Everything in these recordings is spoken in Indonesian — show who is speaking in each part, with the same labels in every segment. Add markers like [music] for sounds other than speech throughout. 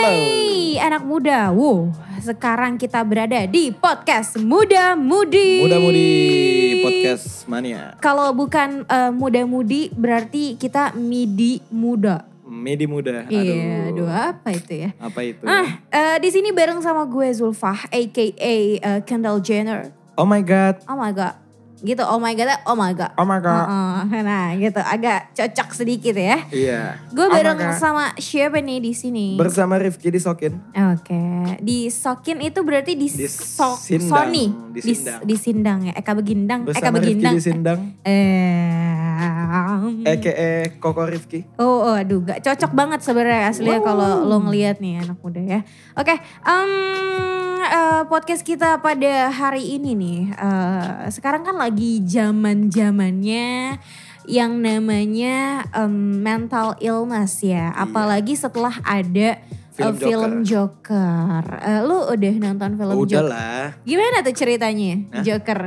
Speaker 1: Hai anak muda, wow sekarang kita berada di podcast Muda Mudi.
Speaker 2: Muda-mudi podcast mania.
Speaker 1: Kalau bukan eh, Muda Mudi berarti kita midi muda.
Speaker 2: Medi muda. Aduh.
Speaker 1: Iya, aduh apa itu ya?
Speaker 2: Apa itu?
Speaker 1: Ah, eh, di sini bareng sama gue Zulfah, aka eh, Kendall Jenner.
Speaker 2: Oh my god.
Speaker 1: Oh my god, gitu. Oh my god, oh my god.
Speaker 2: Oh my god.
Speaker 1: Heeh, nah gitu, agak cocok sedikit ya.
Speaker 2: Iya.
Speaker 1: Gue
Speaker 2: Oh my
Speaker 1: bareng
Speaker 2: God.
Speaker 1: sama siapa nih di sini?
Speaker 2: bersama Rifki di
Speaker 1: Eh,
Speaker 2: Sokin.
Speaker 1: Oke, di sokin itu berarti di, so-
Speaker 2: Disindang,
Speaker 1: Sony,
Speaker 2: disindang.
Speaker 1: Di, disindang ya, Eka Begindang, Eka
Speaker 2: Bersama Rifki
Speaker 1: Begindang.
Speaker 2: di Sindang.
Speaker 1: Eh,
Speaker 2: EKE Koko Rifki.
Speaker 1: oh, oh, aduh, gak cocok banget sebenarnya aslinya kalau lo ngeliat nih anak muda ya. Oke, em, eh, podcast kita pada hari ini nih, eh, sekarang kan lagi zaman zamannya yang namanya em, mental illness ya, apalagi setelah ada
Speaker 2: Iya. Film
Speaker 1: eh, film Joker. Eh, lu udah nonton film
Speaker 2: Udah
Speaker 1: Joker?
Speaker 2: lah.
Speaker 1: Gimana tuh ceritanya
Speaker 2: Hah?
Speaker 1: Joker?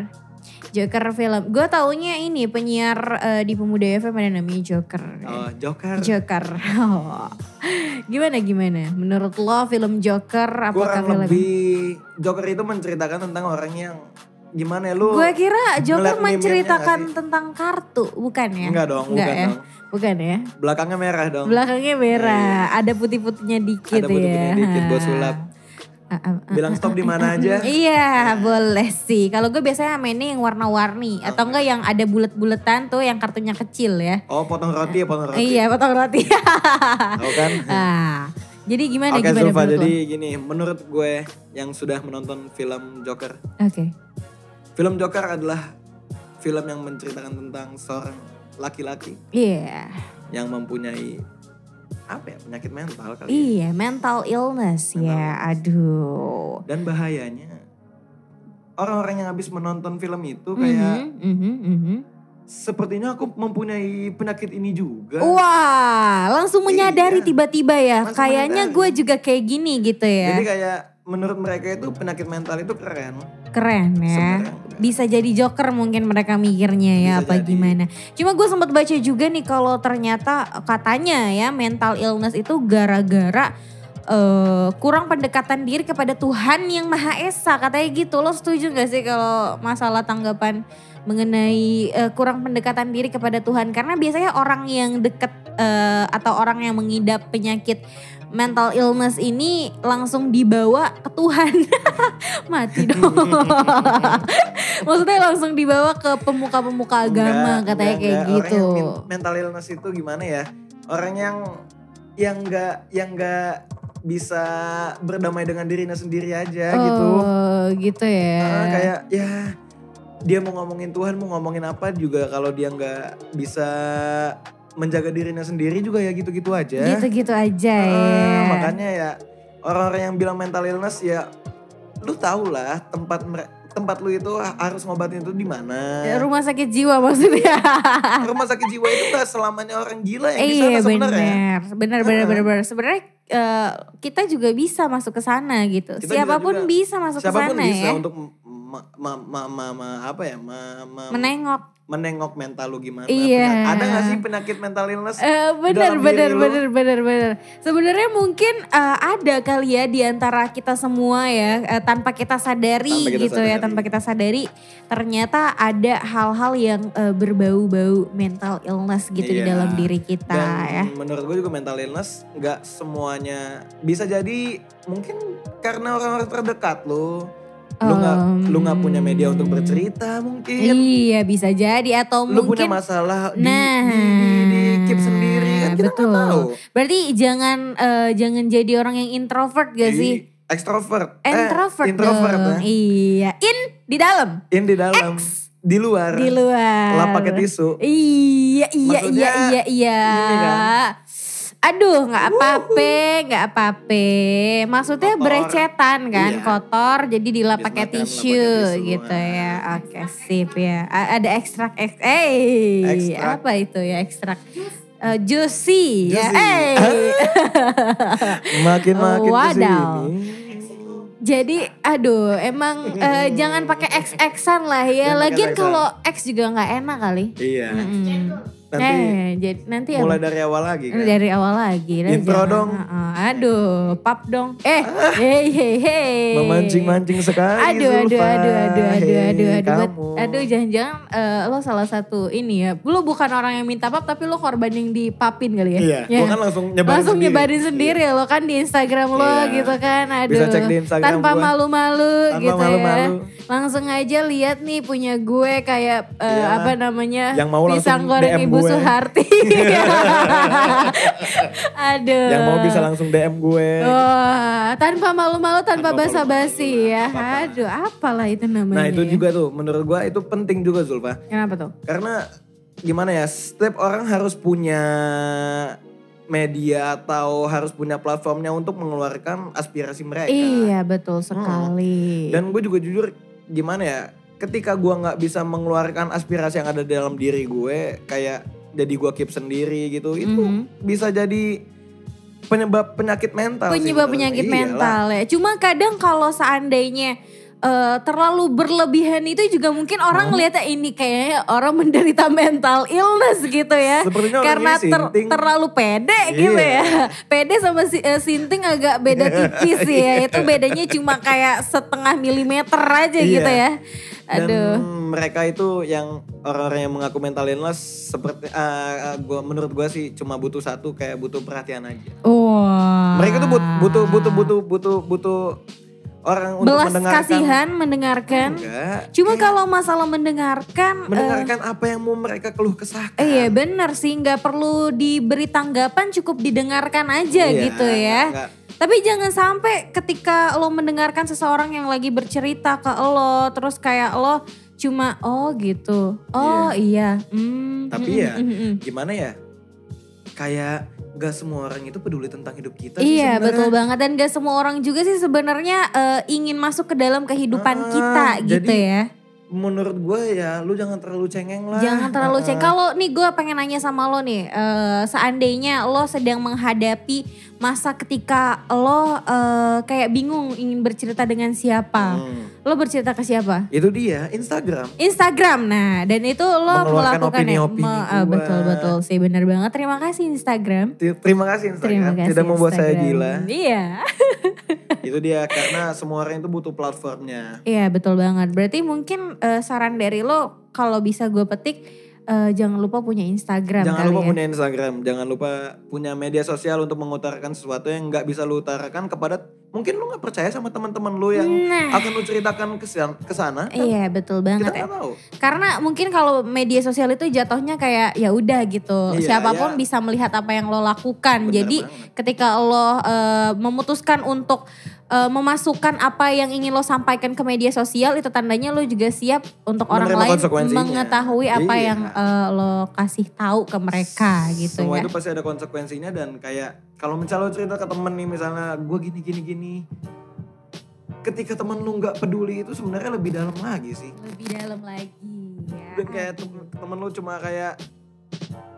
Speaker 1: Joker film. Gue taunya ini penyiar eh, di Pemuda FM ada namanya Joker.
Speaker 2: Oh, Joker.
Speaker 1: Joker. Oh. Gimana gimana? Menurut lo film Joker apakah film?
Speaker 2: Kurang lebih Joker itu menceritakan tentang orang yang gimana ya lu?
Speaker 1: Gue kira
Speaker 2: ngeliat
Speaker 1: Joker
Speaker 2: meme-nya nggak
Speaker 1: menceritakan
Speaker 2: sih?
Speaker 1: tentang kartu, bukan ya?
Speaker 2: Enggak dong,
Speaker 1: Nggak
Speaker 2: bukan
Speaker 1: ya?
Speaker 2: dong.
Speaker 1: Bukan ya?
Speaker 2: Belakangnya merah dong.
Speaker 1: Belakangnya merah, ada putih-putihnya dikit
Speaker 2: Ada
Speaker 1: ya.
Speaker 2: putih-putihnya dikit, gua sulap.
Speaker 1: Ah, ah, ah.
Speaker 2: Bilang stop di mana aja.
Speaker 1: [laughs] Iya boleh sih. Kalau gue biasanya mainnya yang warna-warni atau enggak yang ada bulat-bulatan tuh yang kartunya kecil ya.
Speaker 2: Oh, potong roti ya, potong roti.
Speaker 1: Iya potong roti. [laughs]
Speaker 2: Tahu kan?
Speaker 1: ah, jadi gimana
Speaker 2: Oke
Speaker 1: gimana
Speaker 2: Zulfa,
Speaker 1: menurut lo?
Speaker 2: jadi gini, menurut gue yang sudah menonton film Joker,
Speaker 1: Oke.
Speaker 2: film Joker adalah film yang menceritakan tentang seorang laki-laki
Speaker 1: Iya.
Speaker 2: yang mempunyai apa ya penyakit mental kali ya.
Speaker 1: Iya mental illness
Speaker 2: Mental
Speaker 1: ya.
Speaker 2: illness.
Speaker 1: Aduh.
Speaker 2: Dan bahayanya orang-orang yang habis menonton film itu kayak
Speaker 1: Mhm, mhm, mhm.
Speaker 2: sepertinya aku mempunyai penyakit ini juga.
Speaker 1: Oh, Wah, langsung menyadari
Speaker 2: Iya.
Speaker 1: tiba-tiba ya.
Speaker 2: Langsung
Speaker 1: Kayaknya gue
Speaker 2: menyadari.
Speaker 1: juga kayak gini gitu ya.
Speaker 2: Jadi kayak menurut mereka itu penyakit mental itu keren.
Speaker 1: Keren ya.
Speaker 2: Sebenarnya
Speaker 1: bisa jadi joker mungkin mereka mikirnya ya
Speaker 2: Bisa
Speaker 1: apa
Speaker 2: jadi.
Speaker 1: gimana. Cuma gue sempat baca juga nih kalau ternyata katanya ya mental illness itu gara-gara eh, kurang pendekatan diri kepada Tuhan yang Maha Esa katanya gitu. Lo setuju gak sih kalau masalah tanggapan mengenai eh, kurang pendekatan diri kepada Tuhan? Karena biasanya orang yang deket eh, atau orang yang mengidap penyakit mental illness ini langsung dibawa ke Tuhan. [laughs] Mati dong.
Speaker 2: [laughs]
Speaker 1: Maksudnya langsung dibawa ke pemuka-pemuka agama
Speaker 2: Enggak,
Speaker 1: katanya
Speaker 2: enggak,
Speaker 1: kayak
Speaker 2: enggak.
Speaker 1: gitu.
Speaker 2: Orang yang men- mental illness itu gimana ya? Orang yang yang enggak yang enggak bisa berdamai dengan dirinya sendiri aja gitu.
Speaker 1: Oh, gitu ya.
Speaker 2: Ah, kayak ya dia mau ngomongin Tuhan, mau ngomongin apa juga kalau dia enggak bisa menjaga dirinya sendiri juga ya gitu-gitu aja.
Speaker 1: Gitu-gitu aja
Speaker 2: Ah,
Speaker 1: ya.
Speaker 2: Makanya ya orang-orang yang bilang mental illness ya lu tau lah tempat mere- tempat lu itu harus ngobatin itu di mana.
Speaker 1: Ya, Rumah sakit jiwa
Speaker 2: [laughs]
Speaker 1: maksudnya.
Speaker 2: rumah sakit jiwa itu gak selamanya orang gila yang di sana
Speaker 1: iya
Speaker 2: gitu sebenarnya. Ah.
Speaker 1: benar. Benar benar
Speaker 2: Heeh.
Speaker 1: benar benar. Sebenarnya eh, kita juga bisa masuk ke sana gitu.
Speaker 2: Kita
Speaker 1: Siapapun
Speaker 2: juga-
Speaker 1: bisa masuk ke
Speaker 2: Siapapun
Speaker 1: sana
Speaker 2: bisa
Speaker 1: ya.
Speaker 2: untuk ma- ma- ma- ma- ma- apa ya ma- ma-
Speaker 1: Menengok.
Speaker 2: menengok mental lu gimana.
Speaker 1: Iya.
Speaker 2: Penyakit- Ada gak sih penyakit mental illness?
Speaker 1: Eh, benar
Speaker 2: dalam
Speaker 1: benar
Speaker 2: diri lu.
Speaker 1: benar benar benar. Sebenarnya mungkin eh, ada kali ya di antara kita semua ya eh, tanpa kita sadari
Speaker 2: Tanpa kita
Speaker 1: gitu ya,
Speaker 2: sadari.
Speaker 1: tanpa kita sadari ternyata ada hal-hal yang eh, berbau-bau mental illness gitu di
Speaker 2: Iya.
Speaker 1: dalam diri kita
Speaker 2: Dan
Speaker 1: ya.
Speaker 2: menurut gue juga mental illness nggak semuanya bisa jadi mungkin karena orang-orang terdekat lu. Lu nggak lu nggak punya media untuk bercerita mungkin.
Speaker 1: Iya, bisa jadi atau
Speaker 2: Lu punya
Speaker 1: mungkin
Speaker 2: masalah di,
Speaker 1: Nah.
Speaker 2: di, di, di keep sendiri kan kita nggak
Speaker 1: Betul.
Speaker 2: tahu.
Speaker 1: berarti jangan eh, jangan jadi orang yang introvert gak
Speaker 2: Jadi
Speaker 1: Iya sih?
Speaker 2: Extrovert. Eh,
Speaker 1: Introvert,
Speaker 2: introvert
Speaker 1: dong.
Speaker 2: ya.
Speaker 1: Iya, in di dalam.
Speaker 2: Yang di dalam, di luar,
Speaker 1: di luar.
Speaker 2: lap pakai tisu.
Speaker 1: Iya, iya,
Speaker 2: Maksudnya,
Speaker 1: iya, iya,
Speaker 2: ini
Speaker 1: iya.
Speaker 2: kan.
Speaker 1: Aduh, nggak apa-apa, nggak apa-apa. Maksudnya
Speaker 2: Kotor.
Speaker 1: berecetan kan,
Speaker 2: Iya.
Speaker 1: kotor, jadi dilap
Speaker 2: Habis
Speaker 1: pakai
Speaker 2: makan, lap pakai
Speaker 1: tisu
Speaker 2: tisu.
Speaker 1: gitu ya.
Speaker 2: Ah.
Speaker 1: Oke, sip ya. A- ada ekstrak, ek- eh,
Speaker 2: Ekstrak.
Speaker 1: apa itu ya ekstrak? Eh, juicy, ya,
Speaker 2: Juicy.
Speaker 1: eh.
Speaker 2: Makin makin ke
Speaker 1: Wadaw.
Speaker 2: sini.
Speaker 1: [laughs] Jadi aduh emang eh, jangan pakai X-Xan lah ya.
Speaker 2: Jangan pakai
Speaker 1: Lagian
Speaker 2: X-Xan.
Speaker 1: kalau X juga nggak enak kali.
Speaker 2: Iya.
Speaker 1: Mm-mm.
Speaker 2: Nanti
Speaker 1: eh, jadi nanti apa?
Speaker 2: mulai dari awal lagi kan.
Speaker 1: dari awal lagi. lah,
Speaker 2: Intro
Speaker 1: jangan.
Speaker 2: dong.
Speaker 1: Heeh, aduh, pap dong.
Speaker 2: [laughs]
Speaker 1: Eh, hey hey hey.
Speaker 2: Memancing-mancing sekali
Speaker 1: Aduh, aduh, aduh,
Speaker 2: Zulfa.
Speaker 1: aduh, aduh,
Speaker 2: Hei,
Speaker 1: aduh, aduh, buat-
Speaker 2: kamu.
Speaker 1: aduh, jangan-jangan eh, lo salah satu ini ya. Lo bukan orang yang minta pap, tapi lo korban yang dipapin kali ya.
Speaker 2: Iya,
Speaker 1: Ya.
Speaker 2: gua kan langsung nyebarin
Speaker 1: langsung
Speaker 2: sendiri.
Speaker 1: nyebarin sendiri ya lo kan di Instagram lo
Speaker 2: Iya.
Speaker 1: gitu kan. Aduh,
Speaker 2: Bisa cek di Instagram
Speaker 1: tanpa
Speaker 2: gua.
Speaker 1: malu-malu
Speaker 2: Tanpa
Speaker 1: gitu
Speaker 2: malu-malu.
Speaker 1: ya. Langsung aja lihat nih punya gue kayak eh,
Speaker 2: Iyalah.
Speaker 1: apa namanya
Speaker 2: Iya. Yang mau langsung
Speaker 1: pisang goreng
Speaker 2: DM
Speaker 1: ibu
Speaker 2: gue. [laughs]
Speaker 1: Suharti. [laughs] Aduh.
Speaker 2: Yang mau bisa langsung DM gue.
Speaker 1: Oh, Wah, tanpa malu-malu, tanpa,
Speaker 2: Tanpa
Speaker 1: basa-basi
Speaker 2: malu-malu,
Speaker 1: ya.
Speaker 2: apa-apa.
Speaker 1: Aduh, apalah itu namanya.
Speaker 2: Nah itu
Speaker 1: ya.
Speaker 2: juga tuh menurut gue itu penting juga Zulfa.
Speaker 1: Kenapa tuh?
Speaker 2: Karena gimana ya setiap orang harus punya media atau harus punya platformnya untuk mengeluarkan aspirasi mereka.
Speaker 1: Iya, betul sekali.
Speaker 2: Hmm. Dan gue juga jujur gimana ya ketika gue nggak bisa mengeluarkan aspirasi yang ada dalam diri gue kayak jadi gue keep sendiri gitu itu
Speaker 1: Mhm.
Speaker 2: bisa jadi penyebab penyakit mental. sih Iya
Speaker 1: penyebab
Speaker 2: menurut
Speaker 1: penyakit
Speaker 2: gue. Iyalah.
Speaker 1: mental ya. Cuma kadang kalau seandainya eh, terlalu berlebihan itu juga mungkin
Speaker 2: Hmm.
Speaker 1: orang ngeliatnya ini kayaknya orang menderita [laughs] mental illness gitu ya.
Speaker 2: Sepertinya orang
Speaker 1: Karena
Speaker 2: ini
Speaker 1: ter-
Speaker 2: sinting.
Speaker 1: terlalu pede gitu
Speaker 2: Iya.
Speaker 1: ya. [laughs] Pede sama si, eh, sinting agak beda
Speaker 2: [laughs]
Speaker 1: tipis
Speaker 2: Iya.
Speaker 1: ya. Itu bedanya cuma kayak setengah milimeter aja
Speaker 2: Iya.
Speaker 1: gitu ya.
Speaker 2: Dan
Speaker 1: Aduh.
Speaker 2: mereka itu yang orang-orang yang mengaku mental illness seperti eh, eh, gua menurut gua sih cuma butuh satu kayak butuh perhatian aja.
Speaker 1: Wah.
Speaker 2: Mereka
Speaker 1: Ah.
Speaker 2: tuh but- butuh butuh butuh butuh butuh orang untuk
Speaker 1: belas
Speaker 2: mendengarkan.
Speaker 1: kasihan mendengarkan.
Speaker 2: Enggak.
Speaker 1: Cuma
Speaker 2: Kayak
Speaker 1: kalau masalah mendengarkan, eh,
Speaker 2: mendengarkan apa yang mau mereka keluh
Speaker 1: Eh,
Speaker 2: kesahkan.
Speaker 1: Iya bener sih nggak perlu diberi tanggapan cukup didengarkan aja
Speaker 2: Iya,
Speaker 1: gitu ya.
Speaker 2: enggak.
Speaker 1: Tapi jangan sampai ketika lo mendengarkan seseorang yang lagi bercerita ke lo terus kayak lo cuma oh gitu. Oh iya. Hmm,
Speaker 2: Tapi
Speaker 1: hmm,
Speaker 2: ya,
Speaker 1: hmm, hmm, hmm.
Speaker 2: Gimana ya? Kayak gak semua orang itu peduli tentang hidup kita sih
Speaker 1: Iya
Speaker 2: sebenarnya.
Speaker 1: betul banget dan gak semua orang juga sih sebenarnya eh, ingin masuk ke dalam kehidupan
Speaker 2: Ah,
Speaker 1: kita
Speaker 2: jadi
Speaker 1: gitu ya.
Speaker 2: Menurut gue ya lu jangan terlalu cengeng lah.
Speaker 1: Jangan terlalu ceng.
Speaker 2: Heeh.
Speaker 1: Kalau nih gue pengen nanya sama lo nih, eh, seandainya lo sedang menghadapi masa ketika lo eh, kayak bingung ingin bercerita dengan siapa,
Speaker 2: Hmm.
Speaker 1: lo bercerita ke siapa?
Speaker 2: Itu dia Instagram.
Speaker 1: Instagram, nah dan itu lo
Speaker 2: Mengeluarkan
Speaker 1: melakukan ya? eh,
Speaker 2: opini-opini gua.
Speaker 1: betul betul sih benar banget. Terima kasih Instagram.
Speaker 2: Ti- Terima kasih
Speaker 1: Terima
Speaker 2: Instagram.
Speaker 1: kasih.
Speaker 2: Tidak membuat saya
Speaker 1: Instagram.
Speaker 2: gila.
Speaker 1: Iya, [laughs]
Speaker 2: itu dia karena semua orang itu butuh platformnya.
Speaker 1: iya betul banget. Berarti mungkin eh, saran dari lo kalau bisa gue petik, eh, jangan lupa punya Instagram.
Speaker 2: jangan
Speaker 1: kali
Speaker 2: lupa
Speaker 1: ya.
Speaker 2: punya Instagram, jangan lupa punya media sosial untuk mengutarakan sesuatu yang nggak bisa lu utarakan kepada mungkin lu nggak percaya sama teman-teman lu yang
Speaker 1: Nah.
Speaker 2: akan lu ceritakan ke sana. Ke sana kan
Speaker 1: Iya betul
Speaker 2: kita
Speaker 1: banget.
Speaker 2: nggak tahu.
Speaker 1: Karena mungkin kalau media sosial itu jatuhnya kayak ya udah gitu.
Speaker 2: Iya,
Speaker 1: Siapapun
Speaker 2: ya.
Speaker 1: bisa melihat apa yang lo lakukan.
Speaker 2: Bener
Speaker 1: Jadi
Speaker 2: banget.
Speaker 1: ketika lo eh, memutuskan untuk eh, memasukkan apa yang ingin lo sampaikan ke media sosial itu tandanya lo juga siap untuk orang
Speaker 2: Menerima
Speaker 1: lain
Speaker 2: konsekuensinya.
Speaker 1: mengetahui apa
Speaker 2: Iya.
Speaker 1: yang eh, lo kasih tahu ke mereka gitu
Speaker 2: Semua
Speaker 1: ya.
Speaker 2: itu pasti ada konsekuensinya dan kayak kalau misalnya lu cerita ke temen nih misalnya gue gini gini gini. Ketika temen lu nggak peduli itu sebenarnya lebih dalam lagi sih.
Speaker 1: Lebih dalam lagi ya.
Speaker 2: Dan kayak temen, temen lu cuma kayak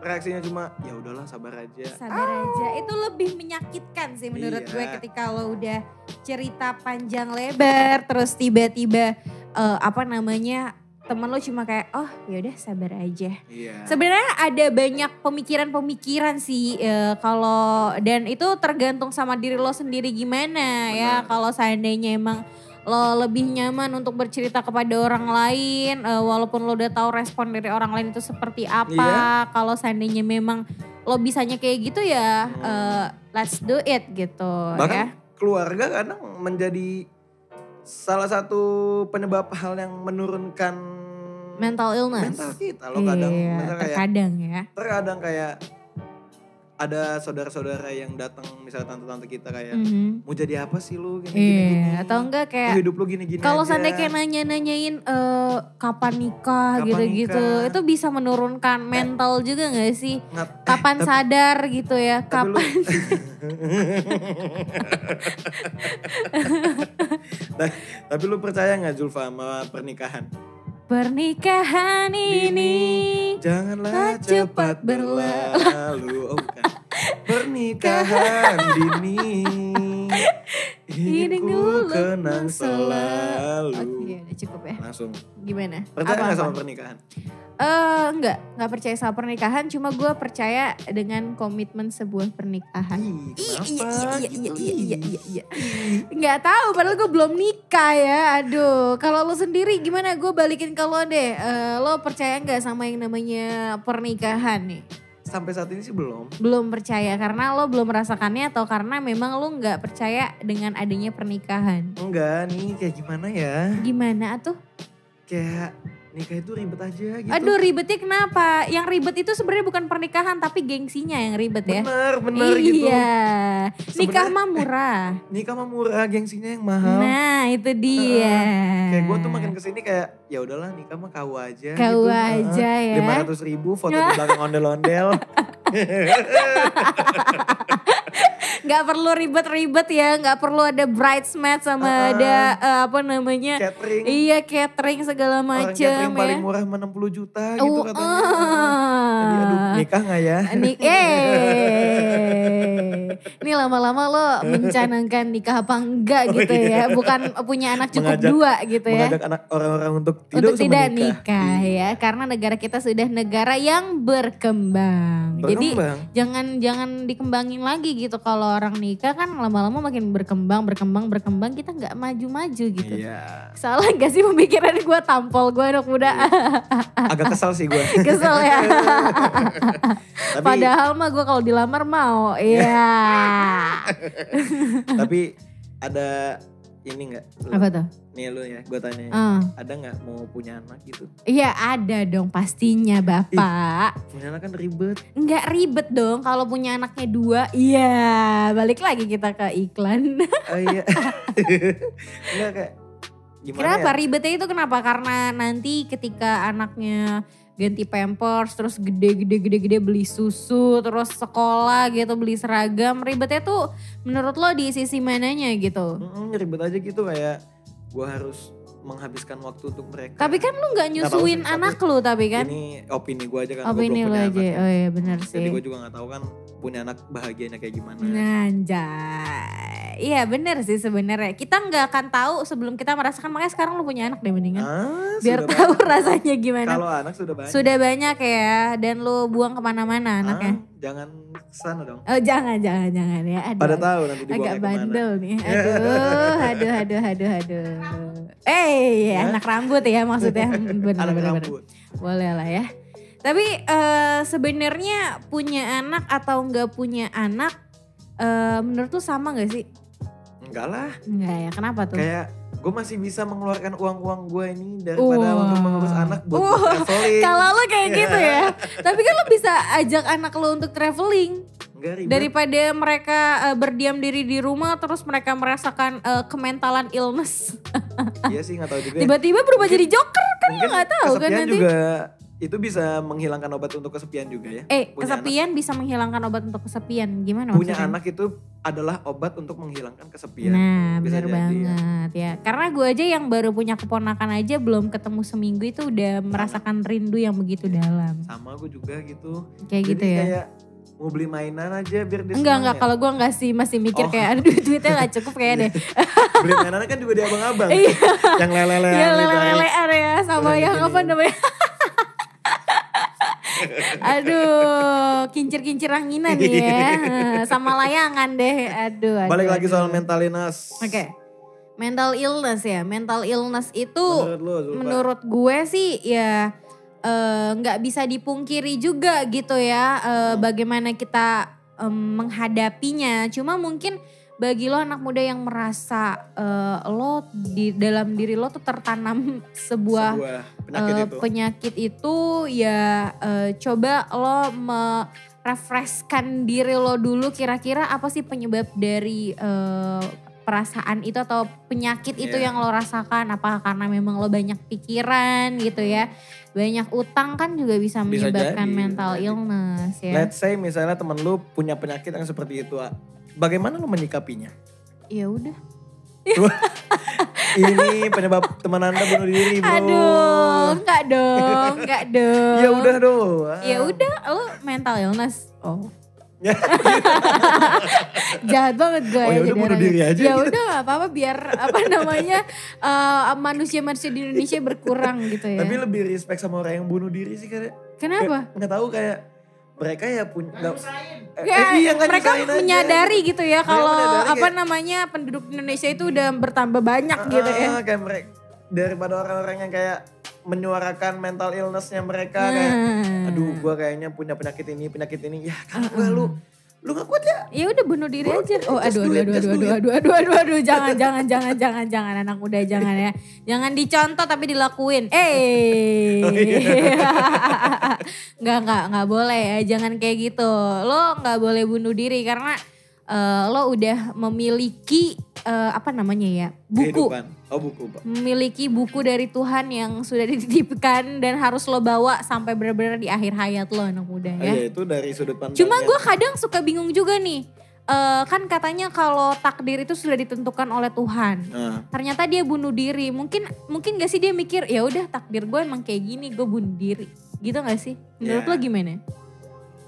Speaker 2: reaksinya cuma ya udahlah sabar aja.
Speaker 1: Sabar aja, itu lebih menyakitkan sih menurut
Speaker 2: Iya.
Speaker 1: gue ketika lo udah cerita panjang lebar, terus tiba-tiba eh, apa namanya temen lo cuma kayak oh yaudah sabar aja.
Speaker 2: Iya.
Speaker 1: Sebenarnya ada banyak pemikiran-pemikiran sih eh, kalau dan itu tergantung sama diri lo sendiri gimana ya
Speaker 2: Benar.
Speaker 1: kalau seandainya emang lo lebih nyaman untuk bercerita kepada orang lain eh, walaupun lo udah tahu respon dari orang lain itu seperti
Speaker 2: Iya.
Speaker 1: apa kalau seandainya memang lo bisanya kayak gitu ya
Speaker 2: Hmm.
Speaker 1: eh, let's do it gitu ya.
Speaker 2: Bahkan keluarga kadang menjadi salah satu penyebab hal yang menurunkan
Speaker 1: mental illness.
Speaker 2: mental kita loh kadang.
Speaker 1: Iya,
Speaker 2: Misalnya kayak Iya.
Speaker 1: terkadang ya.
Speaker 2: terkadang kayak ada saudara-saudara yang datang misalnya tante-tante kita kayak
Speaker 1: Mhm.
Speaker 2: mau jadi apa sih lu gini gini,
Speaker 1: Iya,
Speaker 2: gini.
Speaker 1: atau enggak kayak
Speaker 2: Lu hidup lu gini gini
Speaker 1: Kalau
Speaker 2: aja.
Speaker 1: seandainya kayak nanya-nanyain eh, kapan nikah
Speaker 2: iya. Kapan
Speaker 1: gitu-gitu,
Speaker 2: nikah?
Speaker 1: itu bisa menurunkan mental juga gak sih?
Speaker 2: Ngat- eh,
Speaker 1: Kapan
Speaker 2: tapi-
Speaker 1: sadar gitu ya?
Speaker 2: tapi lu-
Speaker 1: Kapan?
Speaker 2: Nah, [laughs] tapi lu percaya nggak Zulfa sama pernikahan?
Speaker 1: Pernikahan ini.
Speaker 2: Janganlah
Speaker 1: Tak cepat
Speaker 2: cepat
Speaker 1: berla-
Speaker 2: berlalu. Oh, bukan.
Speaker 1: [laughs]
Speaker 2: Pernikahan dini.
Speaker 1: Ini
Speaker 2: Hidupku
Speaker 1: dulu
Speaker 2: kenang
Speaker 1: selalu.
Speaker 2: selalu.
Speaker 1: Oke, udah cukup ya.
Speaker 2: Nah, langsung.
Speaker 1: Gimana?
Speaker 2: Percaya nggak
Speaker 1: Apa-apa?
Speaker 2: sama pernikahan?
Speaker 1: Eh, enggak, enggak percaya sama pernikahan, cuma gue percaya dengan komitmen sebuah pernikahan.
Speaker 2: Ih,
Speaker 1: Ih,
Speaker 2: kenapa
Speaker 1: iya, iya, iya,
Speaker 2: gitu?
Speaker 1: iya, iya, iya, iya. Nggak tahu, padahal gue belum nikah ya. Aduh, kalau lo sendiri gimana? Gue balikin ke lo deh. Eh, lo percaya nggak sama yang namanya pernikahan nih?
Speaker 2: Sampai saat ini sih belum.
Speaker 1: Belum percaya karena lo belum merasakannya atau karena memang lo nggak percaya dengan adanya pernikahan?
Speaker 2: Enggak nih, kayak gimana ya?
Speaker 1: Gimana tuh?
Speaker 2: Kayak nikah itu ribet aja gitu.
Speaker 1: Aduh ribetnya kenapa? Yang ribet itu sebenarnya bukan pernikahan tapi gengsinya yang ribet ya.
Speaker 2: Bener, bener
Speaker 1: iya.
Speaker 2: gitu.
Speaker 1: Nikah
Speaker 2: Sebenarnya-
Speaker 1: mah murah.
Speaker 2: Nikah mah murah, gengsinya yang mahal.
Speaker 1: Nah, itu dia.
Speaker 2: Kayak gue tuh makin kesini kayak ya udahlah nikah mah kau aja.
Speaker 1: Kau
Speaker 2: gitu.
Speaker 1: aja ya.
Speaker 2: Lima ratus ribu foto di belakang
Speaker 1: [laughs]
Speaker 2: ondel-ondel.
Speaker 1: Gak perlu ribet-ribet ya, gak perlu ada bridesmaid sama
Speaker 2: Heeh.
Speaker 1: ada eh, apa namanya?
Speaker 2: catering.
Speaker 1: Iya, catering segala
Speaker 2: Orang
Speaker 1: macem
Speaker 2: catering
Speaker 1: ya.
Speaker 2: paling murah mah 60 juta gitu
Speaker 1: Oh,
Speaker 2: katanya.
Speaker 1: eh.
Speaker 2: Jadi aduh nikah gak ya?
Speaker 1: Ni- eh. Ini lama-lama lo mencanangkan nikah apa enggak
Speaker 2: Oh,
Speaker 1: gitu ya.
Speaker 2: iya.
Speaker 1: Bukan punya anak cukup
Speaker 2: Mengajak-
Speaker 1: dua gitu ya.
Speaker 2: Mengajak anak orang-orang untuk tidak
Speaker 1: untuk
Speaker 2: usah
Speaker 1: tidak
Speaker 2: menikah.
Speaker 1: nikah,
Speaker 2: Iya.
Speaker 1: ya karena negara kita sudah negara yang berkembang. Jadi
Speaker 2: Berkembang.
Speaker 1: jangan jangan dikembangin lagi gitu kalau orang nikah kan lama-lama makin berkembang berkembang berkembang kita nggak maju-maju gitu.
Speaker 2: Iya.
Speaker 1: Salah gak sih pemikiran gue tampol gue anak muda
Speaker 2: Iya. Agak kesal sih gue.
Speaker 1: [laughs] kesel ya.
Speaker 2: [laughs] tapi
Speaker 1: Padahal mah gue kalau dilamar mau, iya.
Speaker 2: tapi ada ini nggak? Lu-
Speaker 1: [laughs] Apa tuh?
Speaker 2: Nih lu ya, gue tanya. ya.
Speaker 1: Eh,
Speaker 2: Ada nggak mau punya anak gitu?
Speaker 1: Iya ada dong pastinya bapak.
Speaker 2: Punya anak kan ribet.
Speaker 1: nggak ribet dong kalau punya anaknya dua. Iya, balik lagi kita ke iklan. [laughs]
Speaker 2: Oh iya. Enggak kayak gimana
Speaker 1: kenapa
Speaker 2: ya?
Speaker 1: ribetnya itu kenapa? Karena nanti ketika anaknya ganti pampers, terus gede-gede-gede-gede beli susu, terus sekolah gitu beli seragam, ribetnya tuh menurut lo di sisi mananya gitu?
Speaker 2: Mm-mm, ribet aja gitu kayak gue harus menghabiskan waktu untuk mereka.
Speaker 1: Tapi kan lo nggak
Speaker 2: Nggak tahu sih,
Speaker 1: nyusuin
Speaker 2: tapi
Speaker 1: anak lo tapi kan?
Speaker 2: Ini opini gue aja kan
Speaker 1: Apa ini lo aja? Oh iya benar
Speaker 2: Jadi
Speaker 1: sih.
Speaker 2: gue juga nggak tahu kan punya anak bahagianya kayak gimana.
Speaker 1: Anjay. Iya benar sih sebenarnya. Kita nggak akan tahu sebelum kita merasakan. Makanya sekarang lo punya anak deh mendingan.
Speaker 2: Ah,
Speaker 1: biar
Speaker 2: sudah
Speaker 1: tahu
Speaker 2: banyak.
Speaker 1: [laughs] rasanya gimana.
Speaker 2: Kalau anak sudah banyak.
Speaker 1: Sudah banyak ya dan lu buang kemana-mana
Speaker 2: Ah,
Speaker 1: anaknya.
Speaker 2: jangan kesana dong.
Speaker 1: Oh jangan jangan jangan ya. Aduh,
Speaker 2: Pada
Speaker 1: ag-
Speaker 2: tahu nanti dibuangnya
Speaker 1: agak
Speaker 2: kemana.
Speaker 1: bandel
Speaker 2: [laughs]
Speaker 1: nih. Aduh, aduh, aduh, aduh, aduh. Eh,
Speaker 2: Ya.
Speaker 1: anak rambut ya
Speaker 2: [laughs]
Speaker 1: maksudnya. Hmm, Bener,
Speaker 2: Anak
Speaker 1: bener, bener.
Speaker 2: rambut.
Speaker 1: Boleh lah ya. Tapi eh, sebenarnya punya anak atau nggak punya anak eh, menurut tuh sama nggak sih?
Speaker 2: Enggak lah.
Speaker 1: Enggak ya, kenapa tuh?
Speaker 2: Kayak gue masih bisa mengeluarkan uang-uang gue ini daripada
Speaker 1: Wah.
Speaker 2: untuk mengurus anak buat gua
Speaker 1: Wah,
Speaker 2: traveling.
Speaker 1: Kalau lo
Speaker 2: [laughs]
Speaker 1: kayak gitu ya. Tapi kan lo bisa ajak anak lo untuk traveling.
Speaker 2: Enggak ribet.
Speaker 1: daripada mereka eh, berdiam diri di rumah terus mereka merasakan eh, kementalan illness
Speaker 2: Iya sih nggak tahu juga.
Speaker 1: tiba-tiba berubah jadi joker kan lo
Speaker 2: Mungkin
Speaker 1: nggak tahu kan
Speaker 2: kesepian
Speaker 1: nanti
Speaker 2: juga itu bisa menghilangkan obat untuk kesepian juga ya.
Speaker 1: eh
Speaker 2: punya
Speaker 1: kesepian bisa menghilangkan obat untuk kesepian gimana
Speaker 2: Punya
Speaker 1: maksudnya?
Speaker 2: anak itu adalah obat untuk menghilangkan kesepian.
Speaker 1: Nah bener
Speaker 2: bisa jadi, iya.
Speaker 1: banget ya Karena gue aja yang baru punya keponakan aja Belum ketemu seminggu itu udah merasakan rindu yang begitu dalam
Speaker 2: Sama gue juga gitu.
Speaker 1: Kayak
Speaker 2: Iya. Jadi
Speaker 1: gitu ya
Speaker 2: kayak mau beli mainan aja biar dia
Speaker 1: Enggak
Speaker 2: senang
Speaker 1: enggak
Speaker 2: ya.
Speaker 1: kalau gue enggak sih masih mikir
Speaker 2: Oh.
Speaker 1: kayak aduh duitnya gak cukup kayak deh
Speaker 2: [laughs] beli mainannya kan juga di abang-abang.
Speaker 1: Iya.
Speaker 2: yang lele-lele. gitu kan.
Speaker 1: Iya lele-lelean ya sama
Speaker 2: Lele
Speaker 1: yang
Speaker 2: gini.
Speaker 1: apa namanya. [laughs] aduh, kincir-kincir anginan nih
Speaker 2: [laughs]
Speaker 1: ya. Sama layangan deh. Aduh, aduh.
Speaker 2: Balik lagi
Speaker 1: aduh.
Speaker 2: soal mentalitas.
Speaker 1: Oke. Mental illness ya. Mental illness itu
Speaker 2: Menurut lu, Zulfa?
Speaker 1: menurut gue sih ya eh, nggak bisa dipungkiri juga gitu ya eh, bagaimana kita em, menghadapinya. Cuma mungkin bagi lo anak muda yang merasa eh, lo di dalam diri lo tuh tertanam [laughs] sebuah
Speaker 2: sebuah penyakit
Speaker 1: eh,
Speaker 2: itu.
Speaker 1: penyakit itu ya eh, coba lo merefreshkan diri lo dulu kira-kira apa sih penyebab dari eh, perasaan itu atau penyakit itu
Speaker 2: Iya.
Speaker 1: yang lo rasakan apa karena memang lo banyak pikiran gitu ya banyak utang kan juga bisa
Speaker 2: Bisa
Speaker 1: menyebabkan
Speaker 2: jadi,
Speaker 1: mental
Speaker 2: jadi.
Speaker 1: illness ya
Speaker 2: Let's say misalnya temen lu punya penyakit yang seperti itu, ah. bagaimana lu menyikapinya?
Speaker 1: ya udah
Speaker 2: Ini penyebab
Speaker 1: [laughs]
Speaker 2: teman anda bunuh diri bro.
Speaker 1: aduh enggak
Speaker 2: [laughs]
Speaker 1: dong enggak dong
Speaker 2: Ya udah doang.
Speaker 1: ya udah lo mental illness oh [laughs] Jahat banget gue
Speaker 2: Oh,
Speaker 1: ya
Speaker 2: ya udah,
Speaker 1: jadi
Speaker 2: bunuh
Speaker 1: orangnya.
Speaker 2: diri aja
Speaker 1: Ya
Speaker 2: gitu.
Speaker 1: udah gak apa-apa biar apa namanya [laughs] eh, manusia-manusia di Indonesia berkurang gitu ya.
Speaker 2: Tapi lebih respect sama orang yang bunuh diri sih kayak
Speaker 1: Kenapa?
Speaker 2: nggak tahu kayak mereka ya punya nggak- eh,
Speaker 1: Ya,
Speaker 2: eh, iya, nggak
Speaker 1: mereka
Speaker 2: nyusahin aja.
Speaker 1: menyadari gitu ya
Speaker 2: Mereka
Speaker 1: kalau
Speaker 2: menyadari
Speaker 1: apa
Speaker 2: kayak-
Speaker 1: namanya penduduk Indonesia itu udah bertambah banyak
Speaker 2: Ah,
Speaker 1: [laughs] gitu ya.
Speaker 2: Kayak mereka daripada orang-orang yang kayak menyuarakan mental illnessnya mereka kayak
Speaker 1: Hmm. Ah,
Speaker 2: aduh gua kayaknya punya penyakit ini penyakit ini ya kan gua lu lu gak kuat ya
Speaker 1: Ya udah bunuh diri
Speaker 2: Bunuh
Speaker 1: aja.
Speaker 2: diri,
Speaker 1: Oh
Speaker 2: just
Speaker 1: aduh aduh
Speaker 2: do it,
Speaker 1: aduh
Speaker 2: just
Speaker 1: aduh
Speaker 2: do it.
Speaker 1: aduh aduh aduh aduh jangan jangan jangan jangan jangan anak muda jangan ya. Jangan dicontoh tapi dilakuin. Eh.
Speaker 2: Oh, iya.
Speaker 1: [laughs] nggak nggak nggak boleh ya. Jangan kayak gitu. Lo nggak boleh bunuh diri karena eh, lo udah memiliki eh, apa namanya ya? buku
Speaker 2: Kehidupan. oh buku Pak.
Speaker 1: memiliki buku dari Tuhan yang sudah dititipkan dan harus lo bawa sampai benar-benar di akhir hayat lo anak muda
Speaker 2: Ah,
Speaker 1: ya.
Speaker 2: iya, itu dari sudut pandang
Speaker 1: Cuma
Speaker 2: yang-
Speaker 1: gue kadang suka bingung juga nih. Eh, kan katanya kalau takdir itu sudah ditentukan oleh Tuhan.
Speaker 2: Ah,
Speaker 1: Ternyata dia bunuh diri. Mungkin mungkin gak sih dia mikir ya udah takdir gue emang kayak gini gue bunuh diri. Gitu gak sih? Menurut
Speaker 2: Ya.
Speaker 1: lo gimana?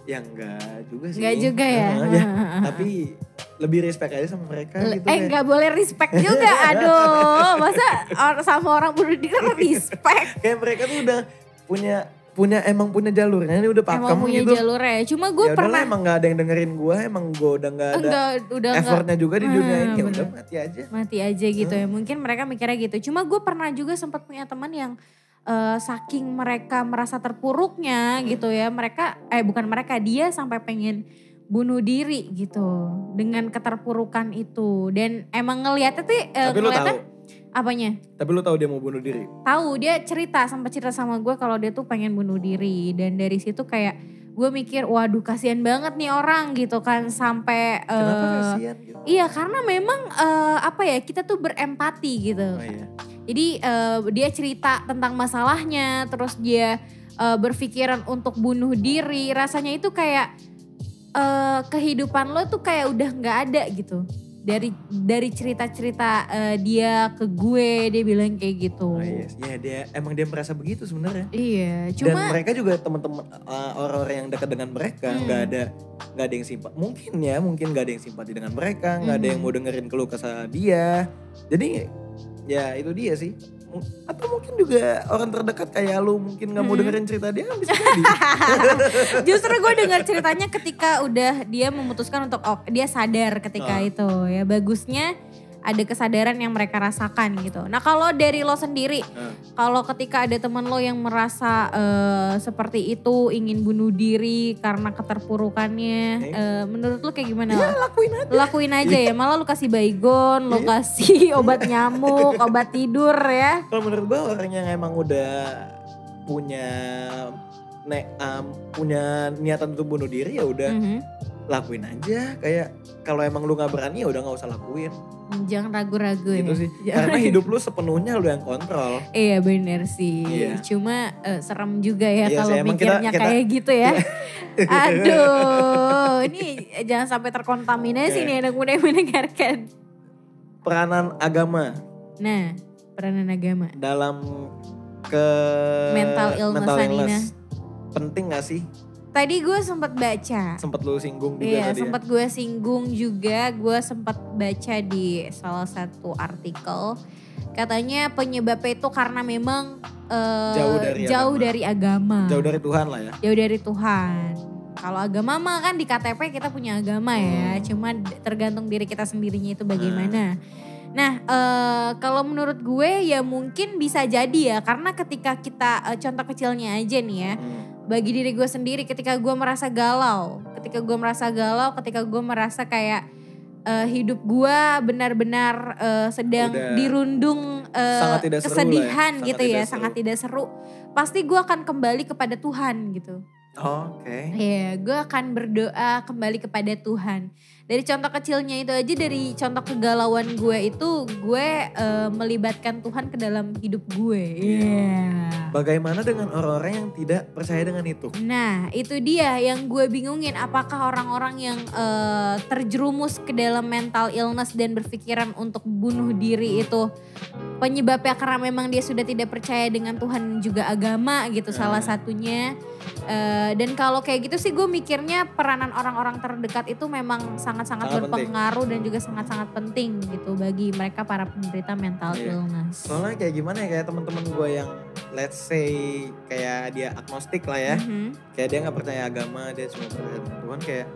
Speaker 2: ya enggak juga sih
Speaker 1: Gak juga ya.
Speaker 2: Ah, ya,
Speaker 1: [laughs]
Speaker 2: tapi lebih respect aja sama mereka
Speaker 1: eh
Speaker 2: gitu kayak.
Speaker 1: nggak boleh respect
Speaker 2: [laughs]
Speaker 1: juga. Aduh, masa or- sama orang bunuh diri lo respect?
Speaker 2: kayak mereka tuh udah punya punya emang punya jalurnya ini udah pakem
Speaker 1: emang punya
Speaker 2: gitu.
Speaker 1: jalurnya. Cuma gue
Speaker 2: Ya udahlah,
Speaker 1: pernah
Speaker 2: emang gak ada yang dengerin gue, emang gue udah gak ada
Speaker 1: enggak udah enggak
Speaker 2: effortnya juga di
Speaker 1: Ah,
Speaker 2: dunia ini. Ya
Speaker 1: bener.
Speaker 2: udah mati aja.
Speaker 1: mati aja gitu
Speaker 2: Hmm.
Speaker 1: ya. Mungkin mereka mikirnya gitu. Cuma gue pernah juga sempat punya teman yang eh, saking mereka merasa terpuruknya gitu ya. Mereka eh bukan mereka dia sampai pengen bunuh diri gitu dengan keterpurukan itu. Dan emang ngelihatnya tuh eh,
Speaker 2: tapi lu
Speaker 1: ngeliatnya
Speaker 2: tahu,
Speaker 1: apanya?
Speaker 2: tapi lu tahu dia mau bunuh diri.
Speaker 1: tahu dia cerita sempat cerita sama gue kalau dia tuh pengen bunuh diri dan dari situ kayak gue mikir waduh kasihan banget nih orang gitu kan sampai
Speaker 2: Kenapa
Speaker 1: eh,
Speaker 2: kasihan gitu?
Speaker 1: Iya karena memang eh, apa ya kita tuh berempati gitu.
Speaker 2: Oh, iya.
Speaker 1: Jadi eh, dia cerita tentang masalahnya, terus dia eh, berpikiran untuk bunuh diri. Rasanya itu kayak eh, kehidupan lo tuh kayak udah nggak ada gitu. Dari dari cerita-cerita eh, dia ke gue dia bilang kayak gitu.
Speaker 2: Oh, iya. Ya dia emang dia merasa begitu sebenarnya.
Speaker 1: Iya,
Speaker 2: Dan
Speaker 1: cuma
Speaker 2: mereka juga teman-teman eh, orang-orang yang dekat dengan mereka
Speaker 1: Hmm.
Speaker 2: nggak ada nggak ada yang simpati. Mungkin ya, mungkin nggak ada yang simpati dengan mereka, nggak ada
Speaker 1: Mhm.
Speaker 2: yang mau dengerin keluh kesah dia. Jadi ya itu dia sih. M- Atau mungkin juga orang terdekat kayak lu mungkin nggak mau
Speaker 1: Mhm.
Speaker 2: dengerin cerita dia bisa jadi.
Speaker 1: [laughs] Justru gue dengar ceritanya ketika udah dia memutuskan untuk oh, dia sadar ketika
Speaker 2: Ah.
Speaker 1: itu ya bagusnya ada kesadaran yang mereka rasakan gitu. Nah kalau dari lo sendiri,
Speaker 2: Ah.
Speaker 1: kalau ketika ada teman lo yang merasa eh, seperti itu ingin bunuh diri karena keterpurukannya,
Speaker 2: Eh.
Speaker 1: eh, menurut lo kayak gimana?
Speaker 2: ya lakuin aja. Iya.
Speaker 1: Lakuin aja ya, malah lo kasih baygon, lo kasih obat nyamuk, obat tidur ya.
Speaker 2: Kalau menurut gue orang yang emang udah punya ne, um, punya niatan untuk bunuh diri ya udah
Speaker 1: Mhm.
Speaker 2: lakuin aja kayak kalau emang lu nggak berani ya udah nggak usah lakuin
Speaker 1: Jangan ragu-ragu ya.
Speaker 2: gitu sih
Speaker 1: Jangan [laughs]
Speaker 2: karena hidup lu sepenuhnya lu yang kontrol
Speaker 1: Iya bener sih.
Speaker 2: Iya.
Speaker 1: Cuma eh, serem juga ya
Speaker 2: Iya
Speaker 1: kalau
Speaker 2: sih, emang kita-
Speaker 1: mikirnya
Speaker 2: kita-
Speaker 1: kayak gitu ya.
Speaker 2: [laughs]
Speaker 1: Aduh, ini jangan sampai terkontaminasi
Speaker 2: Oke.
Speaker 1: nih anak muda yang mendengarkan.
Speaker 2: peranan agama
Speaker 1: Nah, peranan agama.
Speaker 2: dalam ke
Speaker 1: Mental illness,
Speaker 2: penting gak sih
Speaker 1: Tadi gue sempat baca.
Speaker 2: sempet lu singgung juga
Speaker 1: Iya,
Speaker 2: tadi ya?
Speaker 1: sempat gue singgung juga. Gue sempat baca di salah satu artikel. Katanya penyebabnya itu karena memang eh,
Speaker 2: Jauh dari
Speaker 1: jauh
Speaker 2: agama.
Speaker 1: dari agama.
Speaker 2: jauh dari Tuhan lah ya
Speaker 1: jauh dari Tuhan. Kalau agama mah kan di KTP kita punya agama ya,
Speaker 2: Hmm.
Speaker 1: cuma d- tergantung diri kita sendirinya itu bagaimana. Nah, eh, kalau menurut gue ya mungkin bisa jadi ya, karena ketika kita eh, contoh kecilnya aja nih ya,
Speaker 2: Hmm.
Speaker 1: bagi diri gue sendiri ketika gue merasa galau, ketika gue merasa galau, ketika gue merasa kayak eh, hidup gue benar-benar eh, sedang
Speaker 2: Udah
Speaker 1: dirundung eh,
Speaker 2: sangat tidak seru lah ya,
Speaker 1: kesedihan
Speaker 2: sangat
Speaker 1: gitu
Speaker 2: tidak
Speaker 1: ya,
Speaker 2: seru.
Speaker 1: sangat tidak seru, pasti gue akan kembali kepada Tuhan gitu.
Speaker 2: oke
Speaker 1: Iya, gue akan berdoa kembali kepada Tuhan. dari contoh kecilnya itu aja dari contoh kegalauan gue itu gue eh, melibatkan Tuhan ke dalam hidup gue. Iya.
Speaker 2: Bagaimana dengan orang-orang yang tidak percaya dengan itu?
Speaker 1: Nah, itu dia yang gue bingungin. Apakah orang-orang yang eh, terjerumus ke dalam mental illness dan berpikiran untuk bunuh diri itu penyebabnya karena memang dia sudah tidak percaya dengan Tuhan juga agama gitu
Speaker 2: Ya.
Speaker 1: salah satunya. Eh, dan kalau kayak gitu sih gue mikirnya peranan orang-orang terdekat itu memang sangat-sangat
Speaker 2: Sangat penting.
Speaker 1: berpengaruh dan juga sangat-sangat penting gitu bagi mereka para penderita mental
Speaker 2: Iya.
Speaker 1: illness.
Speaker 2: Soalnya kayak gimana ya kayak teman-teman gue yang let's say kayak dia agnostik lah ya.
Speaker 1: Mhm.
Speaker 2: Kayak dia nggak percaya agama, dia cuma percaya dengan Tuhan kayak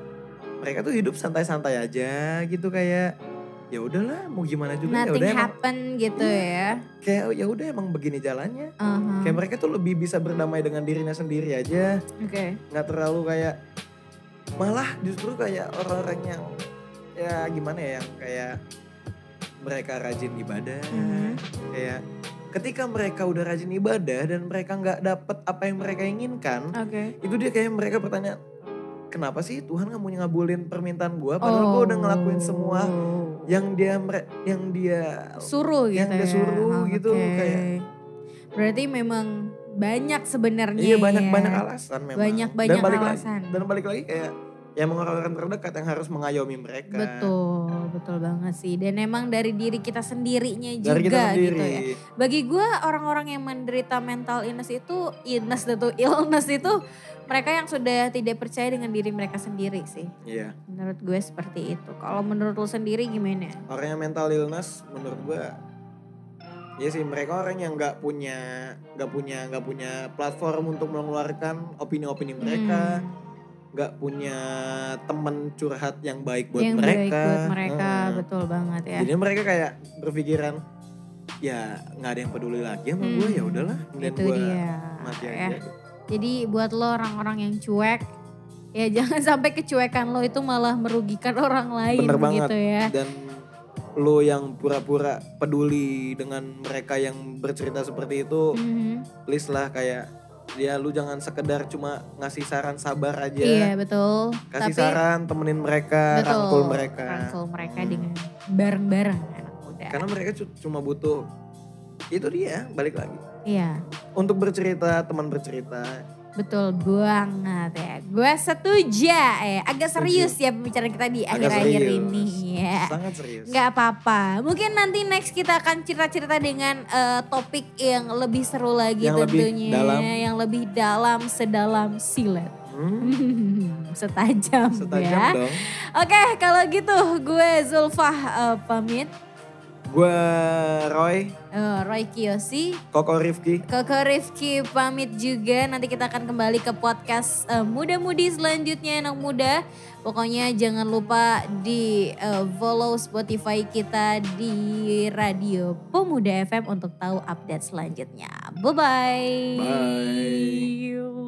Speaker 2: mereka tuh hidup santai-santai aja gitu kayak ya udahlah mau gimana juga ya
Speaker 1: Nothing
Speaker 2: udah emang
Speaker 1: happen gitu ya.
Speaker 2: kayak ya udah emang begini jalannya.
Speaker 1: Aha,
Speaker 2: Kayak mereka tuh lebih bisa berdamai dengan dirinya sendiri aja.
Speaker 1: Oke.
Speaker 2: nggak terlalu kayak malah justru kayak orang-orang yang ya gimana ya yang kayak mereka rajin ibadah
Speaker 1: Mhm.
Speaker 2: kayak ketika mereka udah rajin ibadah dan mereka nggak dapet apa yang mereka inginkan
Speaker 1: Oke.
Speaker 2: itu dia kayak mereka bertanya kenapa sih Tuhan nggak mau ngabulin permintaan gua padahal gua udah ngelakuin semua
Speaker 1: Oh.
Speaker 2: Ya, yang dia mere- yang dia
Speaker 1: suruh gitu
Speaker 2: yang
Speaker 1: ya.
Speaker 2: dia
Speaker 1: Oh,
Speaker 2: suruh gitu,
Speaker 1: oke.
Speaker 2: kayak-
Speaker 1: berarti memang banyak sebenarnya
Speaker 2: iya banyak
Speaker 1: ya.
Speaker 2: banyak alasan memang
Speaker 1: banyak
Speaker 2: dan
Speaker 1: banyak
Speaker 2: balik lagi
Speaker 1: alasan
Speaker 2: dan balik lagi kayak ya emang orang-orang terdekat yang harus mengayomi mereka
Speaker 1: betul betul banget sih dan emang dari diri kita sendirinya juga
Speaker 2: dari kita sendiri
Speaker 1: gitu ya bagi gue orang-orang yang menderita mental illness itu illness itu [laughs] illness itu mereka yang sudah tidak percaya dengan diri mereka sendiri sih
Speaker 2: iya
Speaker 1: menurut gue seperti itu kalau menurut lu sendiri gimana
Speaker 2: orang yang mental illness menurut gua ya sih mereka orang yang nggak punya nggak punya nggak punya platform untuk mengeluarkan opini-opini mereka
Speaker 1: Hmm.
Speaker 2: nggak punya teman curhat yang baik buat
Speaker 1: yang baik
Speaker 2: mereka
Speaker 1: buat mereka
Speaker 2: Heeh.
Speaker 1: betul banget ya
Speaker 2: jadi mereka kayak berpikiran ya nggak ada yang peduli lagi sama gua
Speaker 1: Hmm.
Speaker 2: ya udahlah mending
Speaker 1: itu
Speaker 2: gua
Speaker 1: dia
Speaker 2: mati
Speaker 1: ya.
Speaker 2: aja
Speaker 1: Jadi buat lo orang-orang yang cuek, ya [laughs] jangan sampai kecuekan lo itu malah merugikan [laughs] orang lain
Speaker 2: Bener
Speaker 1: gitu ya.
Speaker 2: dan lo yang pura-pura peduli dengan mereka yang bercerita seperti itu
Speaker 1: Mhm.
Speaker 2: please lah kayak ya lu jangan sekedar cuma ngasih saran sabar aja
Speaker 1: Iya betul.
Speaker 2: kasih
Speaker 1: Tapi
Speaker 2: saran temenin mereka
Speaker 1: betul,
Speaker 2: rangkul mereka
Speaker 1: rangkul mereka
Speaker 2: Hmm.
Speaker 1: dengan bareng-bareng anak muda.
Speaker 2: karena mereka cu- cuma butuh itu dia balik lagi
Speaker 1: Iya
Speaker 2: untuk bercerita teman bercerita
Speaker 1: betul banget ya. Gue setuju ya. Agak serius ya pembicaraan kita di
Speaker 2: Agak
Speaker 1: akhir-akhir
Speaker 2: serius.
Speaker 1: ini ya.
Speaker 2: sangat serius
Speaker 1: Gak apa-apa. Mungkin nanti next kita akan cerita-cerita dengan eh, topik yang lebih seru lagi
Speaker 2: Yang lebih
Speaker 1: tentunya.
Speaker 2: dalam.
Speaker 1: Yang lebih dalam, sedalam silet. [laughs]
Speaker 2: Hmm,
Speaker 1: Setajam,
Speaker 2: setajam
Speaker 1: ya.
Speaker 2: dong
Speaker 1: Oke kalau gitu gue Zulfah eh, pamit.
Speaker 2: gue Roy
Speaker 1: Eh, Roy Kiyoshi.
Speaker 2: Koko Rifki
Speaker 1: Koko Rifki pamit juga. Nanti kita akan kembali ke podcast eh, muda-mudi selanjutnya anak muda. Pokoknya jangan lupa di eh, follow Spotify kita di Radio Pemuda FM untuk tahu update selanjutnya. Bye-bye.
Speaker 2: Bye.